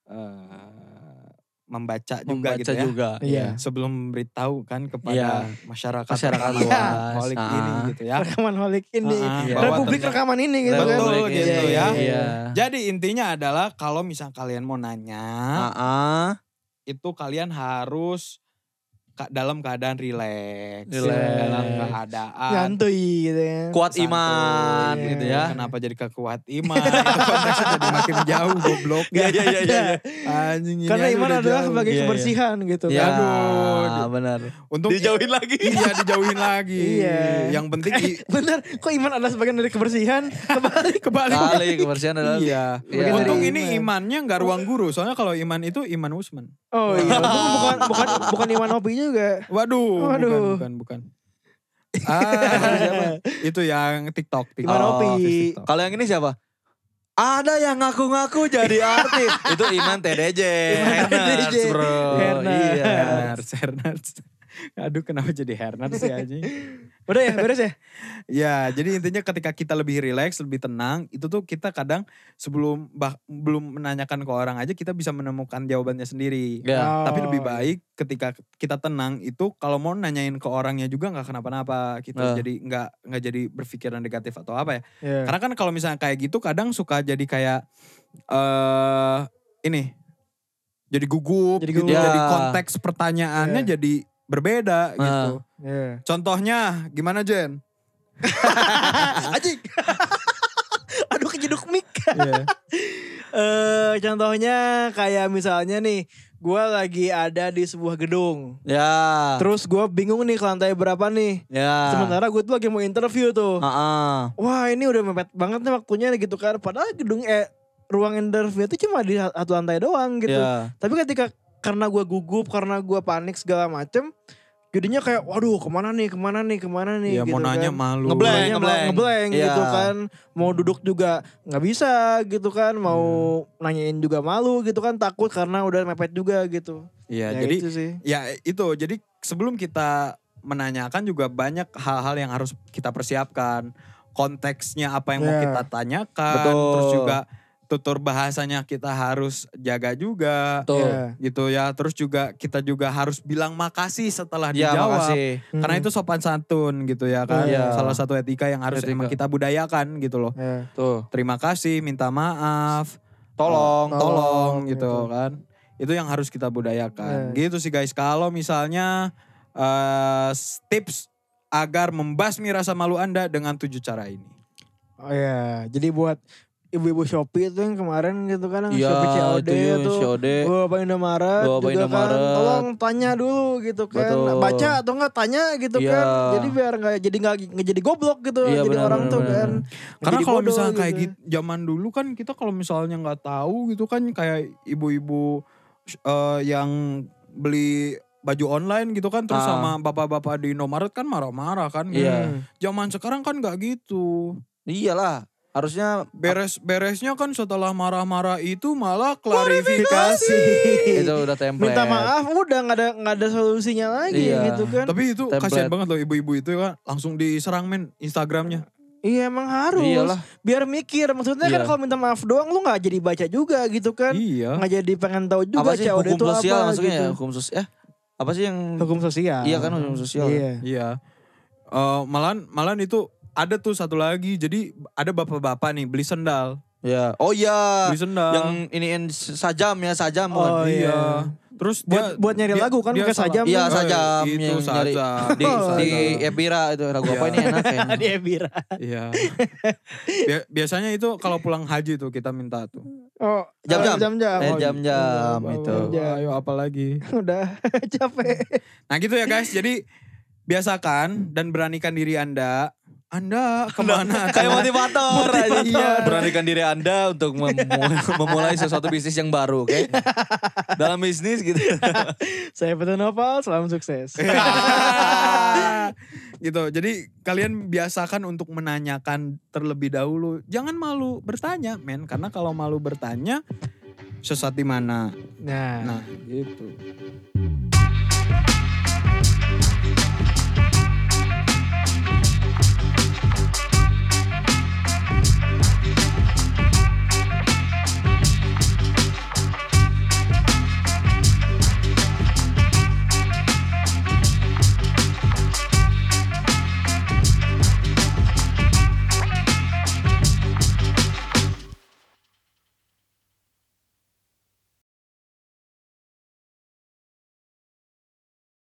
S2: eh, membaca juga
S1: Membaca
S2: gitu ya.
S1: juga.
S3: Iya.
S2: Sebelum beritahu kan kepada
S1: Iya.
S2: masyarakat
S1: Masyarakat
S2: rekaman
S1: luas,
S2: holik
S1: ah.
S2: ini gitu ya.
S3: Rekaman holik ini.
S2: Ah, ah,
S1: Iya.
S2: bahwa
S3: Republik
S2: tentang-
S3: rekaman ini gitu
S2: Betul,
S3: kan. iya.
S1: Betul
S2: gitu
S1: gitu
S2: ya.
S1: ya.
S2: Jadi intinya adalah kalau misal kalian mau nanya, itu kalian harus ka- dalam keadaan rileks,
S1: Rileks.
S2: dalam keadaan
S3: Nyantuy gitu ya.
S1: Kuat
S2: santuy.
S1: iman
S3: Iya.
S1: gitu ya.
S2: Kenapa jadi kekuat iman? Itu konteksnya jadi makin jauh goblok.
S1: Iya iya iya iya.
S2: Anjing ini
S3: Karena
S2: aja
S3: iman
S2: udah
S3: adalah
S2: jauh.
S3: sebagai
S1: Iya, iya.
S3: kebersihan gitu
S1: Iya, Ah,
S3: kan.
S2: Aduh.
S1: benar.
S2: Untuk
S1: Dijauhin lagi.
S2: Iya dijauhin lagi.
S3: Iya.
S2: Yang penting i-
S3: Bener, kok iman adalah sebagian dari kebersihan? Kebalik.
S2: kebalik.
S1: Kali kebersihan adalah
S2: Iya.
S1: Iya.
S2: Untung
S3: Dari
S2: ini imannya nggak ruang guru. Soalnya kalau iman itu iman Usman.
S3: Oh iya, bukan bukan bukan iman hobi juga.
S2: Waduh.
S3: Waduh.
S2: Bukan, bukan, bukan. Ah, siapa? Itu yang TikTok. TikTok. Oh,
S3: Iman Opi.
S2: TikTok.
S1: Kalau yang ini siapa? Ada yang ngaku-ngaku jadi artis. Itu Iman TDJ.
S3: Iman
S1: Hernandes,
S3: TDJ.
S1: bro.
S2: Oh,
S3: Hernandes.
S1: Iya.
S2: Hernards, Hernards. Aduh kenapa jadi Hernards sih anjing.
S3: Udah ya, beres ya?
S2: Ya, jadi intinya ketika kita lebih rileks, lebih tenang, itu tuh kita kadang sebelum bah, belum menanyakan ke orang aja kita bisa menemukan jawabannya sendiri.
S1: Ya.
S2: Tapi lebih
S3: Oh, iya.
S2: baik ketika kita tenang itu kalau mau nanyain ke orangnya juga nggak kenapa-napa gitu.
S3: Nah.
S1: Eh.
S2: Jadi nggak nggak jadi berpikiran negatif atau apa ya.
S3: Iya.
S2: Karena kan kalau misalnya kayak gitu kadang suka jadi kayak eh ini jadi gugup,
S3: Jadi
S2: gitu,
S3: gugup. Iya.
S2: jadi
S1: Ya.
S2: konteks pertanyaannya jadi berbeda gitu.
S3: Iya.
S2: Contohnya gimana Jen?
S3: Ajik. Aduh kejeduk mic.
S2: Iya.
S3: Eh contohnya kayak misalnya nih, gue lagi ada di sebuah gedung.
S1: Ya.
S3: Terus gue bingung nih ke lantai berapa nih.
S1: Ya.
S2: Ah.
S3: Sementara gue tuh lagi mau interview tuh.
S1: Heeh.
S3: Wah ini udah mepet banget nih waktunya gitu kan. Padahal gedung eh ruang interview itu cuma di satu lantai doang gitu.
S1: Ya.
S2: Iya.
S3: Tapi ketika karena gue gugup, karena gue panik segala macem. Jadinya kayak waduh kemana nih, kemana nih, kemana nih
S2: Iya,
S3: gitu
S2: mau nanya
S3: kan.
S2: malu.
S1: Ngeblank.
S3: Ngeblank, ngeblank,
S1: ngeblank. Iya.
S3: gitu kan. Mau duduk juga nggak bisa gitu kan. Mau
S2: Hmm.
S3: nanyain juga malu gitu kan. Takut karena udah mepet juga gitu.
S2: Iya,
S3: Ya,
S2: jadi
S3: itu sih.
S2: ya itu. Jadi sebelum kita menanyakan juga banyak hal-hal yang harus kita persiapkan. Konteksnya apa yang mau
S3: Iya.
S2: kita tanyakan,
S1: Betul.
S2: terus juga tutur bahasanya kita harus jaga juga.
S1: Betul.
S3: Iya.
S2: Gitu ya, terus juga kita juga harus bilang makasih setelah
S1: Ya,
S2: dijawab.
S1: makasih.
S2: Karena
S3: Hmm.
S2: itu sopan santun gitu ya kan.
S1: Iya.
S2: Salah satu etika yang harus
S1: Etika.
S2: emang kita budayakan gitu loh.
S3: Iya.
S1: Tuh.
S2: Terima kasih, minta maaf.
S1: Tolong.
S2: tolong,
S3: Tolong,
S2: gitu
S3: gitu.
S2: kan. Itu yang harus kita budayakan.
S3: Iya.
S2: Gitu sih guys. Kalau misalnya eh, tips agar membasmi rasa malu Anda dengan tujuh cara ini.
S3: Oh iya, jadi buat ibu-ibu Shopee itu yang kemarin gitu kan, yang
S1: Iya,
S3: Shopee COD
S1: itu ya,
S3: itu.
S1: COD.
S3: Gue apa Indomaret
S1: Gua apa
S3: juga kan,
S1: Indomaret.
S3: tolong tanya dulu gitu kan,
S1: Betul.
S3: baca atau enggak tanya gitu
S1: Iya.
S3: kan, jadi biar nggak jadi nggak nggak jadi goblok gitu,
S1: Iya,
S3: jadi
S1: benar,
S3: orang
S1: benar,
S3: tuh
S1: benar.
S3: kan.
S2: Karena
S3: Jadi
S2: kalau
S3: bodoh
S2: misalnya kayak gitu zaman dulu kan kita kalau misalnya nggak tahu gitu kan kayak ibu-ibu eh, yang beli baju online gitu kan terus
S1: Ah.
S2: sama bapak-bapak di Indomaret kan marah-marah kan.
S1: Iya.
S2: Hmm. Zaman sekarang kan nggak gitu.
S1: Iyalah. Harusnya
S2: Beres-beresnya kan setelah marah-marah itu malah klarifikasi.
S1: itu udah template.
S3: Minta maaf, udah nggak ada nggak ada solusinya lagi
S1: Iya.
S3: gitu kan.
S2: Tapi itu
S1: Template.
S2: kasihan banget loh ibu-ibu itu kan langsung diserang men Instagramnya.
S3: Iya emang harus,
S1: Iyalah.
S3: biar mikir. Maksudnya kan
S1: Iya.
S3: kalau minta maaf doang, lu nggak jadi baca juga gitu kan.
S2: Iya.
S3: Nggak jadi pengen tahu
S1: Apa
S3: juga
S1: sih
S3: COD
S1: hukum
S3: itu apa
S1: sosial maksudnya ya?
S3: gitu.
S1: Hukum sosial. Eh, apa sih yang
S3: Hmm. Hukum sosial.
S1: Iya kan, hukum sosial.
S3: Iya.
S2: Iya. Eh, malahan malahan itu ada tuh satu lagi. Jadi ada bapak-bapak nih beli sendal.
S1: Ya. Oh iya.
S3: Ah,
S2: Beli sendal.
S1: Yang iniin sajam ya, sajam bukan?
S3: Oh, iya.
S2: Terus
S3: Buat
S2: dia
S3: buat nyari
S2: dia-
S3: lagu kan
S2: dia
S3: pakai
S2: salah.
S3: sajam. Oh,
S1: Iya,
S2: Eh,
S1: sajam
S2: itu
S1: yang nyari
S2: sajam.
S1: di di
S2: Sajam.
S1: Epira itu lagu apa
S2: Iya.
S1: ini enak ya? kayaknya.
S3: Di Ebira.
S2: Iya. Bia- biasanya itu kalau pulang haji tuh kita minta tuh.
S3: Oh,
S1: Jam-jam.
S3: jam jam. iya.
S1: Eh,
S3: gitu.
S1: jam-jam gitu.
S2: Oh,
S1: itu.
S2: Ayo apa lagi?
S3: Udah capek.
S2: Nah gitu ya guys. Jadi biasakan dan beranikan diri Anda. Anda kemana?
S1: Kayak motivator aja.
S2: Iya.
S1: Beranikan diri Anda untuk memu- memulai sesuatu bisnis yang baru, oke? Dalam bisnis gitu.
S3: Saya Peter Nopal, salam sukses.
S2: gitu. Jadi kalian biasakan untuk menanyakan terlebih dahulu. Jangan malu bertanya, men. Karena kalau malu bertanya sesat di mana?
S3: Nah,
S2: Nah, gitu.